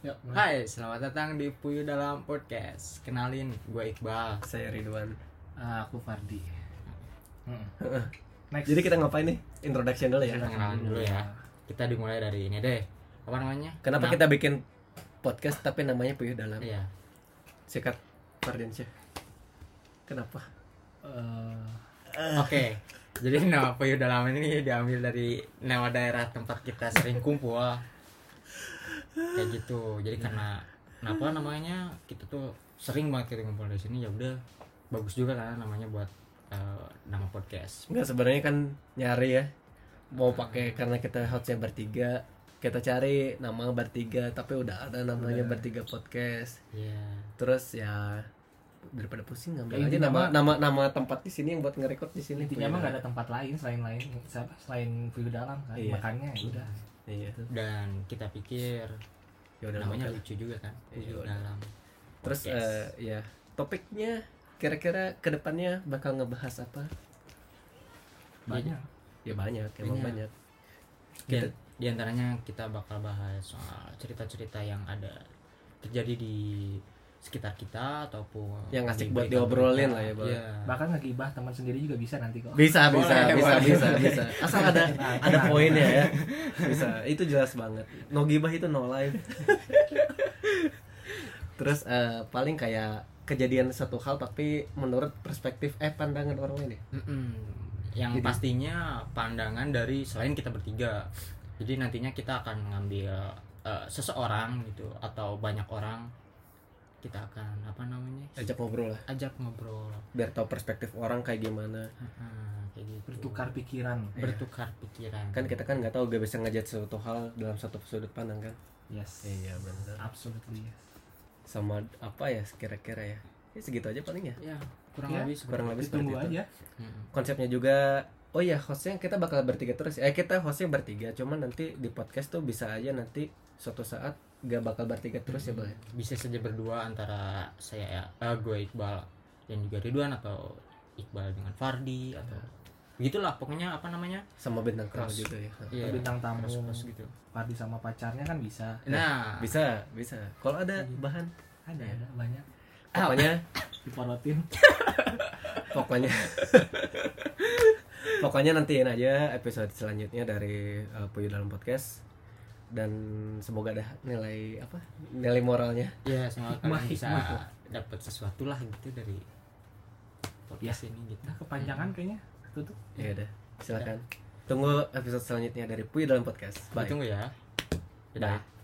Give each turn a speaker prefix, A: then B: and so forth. A: Ya,
B: Hai,
A: mulai.
B: selamat datang di Puyu Dalam Podcast. Kenalin, gue Iqbal.
C: saya Ridwan.
A: Ah, aku Fardi. Mm. Next.
C: Jadi kita ngapain nih? Introduction dulu ya.
B: Hmm. Kita kenalan dulu ya. Kita dimulai dari ini deh. Apa namanya?
C: Kenapa kita bikin podcast tapi namanya Puyuh Dalam?
B: Iya.
C: Sikat Fardiansyah. Kenapa?
A: Eh,
B: Oke. Jadi nama Puyu Dalam ini diambil dari nama daerah tempat kita sering kumpul. Kayak gitu. Jadi karena kenapa namanya kita tuh sering banget kita kumpul di sini ya udah bagus juga karena namanya buat eh, nama podcast.
C: Enggak sebenarnya kan nyari ya. Mau pakai karena kita hostnya bertiga, kita cari nama bertiga tapi udah ada namanya bertiga podcast.
B: Iya.
C: Terus ya daripada pusing
A: Ya,
C: ngambil aja
A: intinya
C: nama
A: mah-
C: nama nama tempat di sini yang buat ngerekord di sini. Puyuh
A: intinya mah gak ada
C: Dalam.
A: tempat lain selain lain siapa selain Puyu Dalam kan.
C: Iya.
A: Makanya ya udah.
C: Iya.
B: Dan kita pikir
C: Ya udah
B: namanya
C: oke.
B: lucu juga kan. Puyu
C: Iya.
B: Dalam.
C: Terus
B: Podcast.
C: eh, ya topiknya kira-kira kedepannya bakal ngebahas apa?
A: Banyak.
C: Ya banyak, emang
B: Banyak.
C: banyak.
B: Dan
C: Gitu.
B: Iya. di antaranya kita bakal bahas soal cerita-cerita yang ada terjadi di sekitar kita ataupun
C: Yang asik
B: di
C: buat
B: berita-berita.
C: diobrolin lah ya, Bang.
B: Iya.
A: Bahkan ngegibah teman sendiri juga bisa nanti kok.
C: Bisa, bisa,
B: Boleh,
C: bisa,
B: boleh.
C: bisa, bisa. Asal ada
A: Nah,
C: ada
A: nah.
C: poinnya ya. Bisa. Itu jelas banget. No gibah itu no life. Terus eh, paling kayak kejadian satu hal tapi menurut perspektif eh pandangan orang lain ya.
B: Mm-mm. Yang
C: Jadi-
B: pastinya pandangan dari selain kita bertiga. Jadi nantinya kita akan mengambil eh, seseorang gitu atau banyak orang kita akan apa namanya
C: Ajak ngobrol lah
B: ajak ngobrol
C: biar tahu perspektif orang kayak gimana.
B: Heeh, kayak gitu
A: Bertukar pikiran.
B: bertukar pikiran
C: Kan kita kan nggak tahu gak bisa ngejat suatu hal dalam satu sudut pandang kan.
A: Yes.
C: benar.
A: Absolutely yes.
C: Sama apa ya kira-kira ya? Ya segitu aja paling ya.
B: ya kurang
A: Ya,
B: lebih
C: Kurang
B: seperti-
C: lebih seperti
A: Ditunggu
C: itu.
A: aja.
B: Mm-mm.
C: konsepnya juga oh ya hostnya kita bakal bertiga terus eh kita hostnya bertiga cuman nanti di podcast tuh bisa aja nanti suatu saat gak bakal bertiga terus ya bang
B: bisa saja berdua antara saya eh, gue Iqbal dan juga Ridwan atau Iqbal dengan Fardi atau begitulah pokoknya apa namanya
C: sama bintang tamu
B: Keras.
C: juga ya
B: Iya,
A: Bintang tamu.
B: keras-keras gitu
A: Party sama pacarnya kan bisa.
B: nah
C: bisa bisa kalau ada bahan
A: Ada ada banyak
C: pokoknya
A: diporotin.
C: pokoknya pokoknya nantiin aja episode selanjutnya dari uh, Puyuh dalam podcast dan semoga ada nilai apa nilai moralnya
B: ya semoga kalian
A: Hikmah,
B: bisa
A: hikmah.
B: dapat sesuatu lah gitu dari podcast ini gitu
A: Nah, kepanjangan kayaknya. Tutup.
C: ya udah silakan tunggu episode selanjutnya dari Puyuh dalam podcast bye
B: ditunggu ya
C: Bye.
B: dadah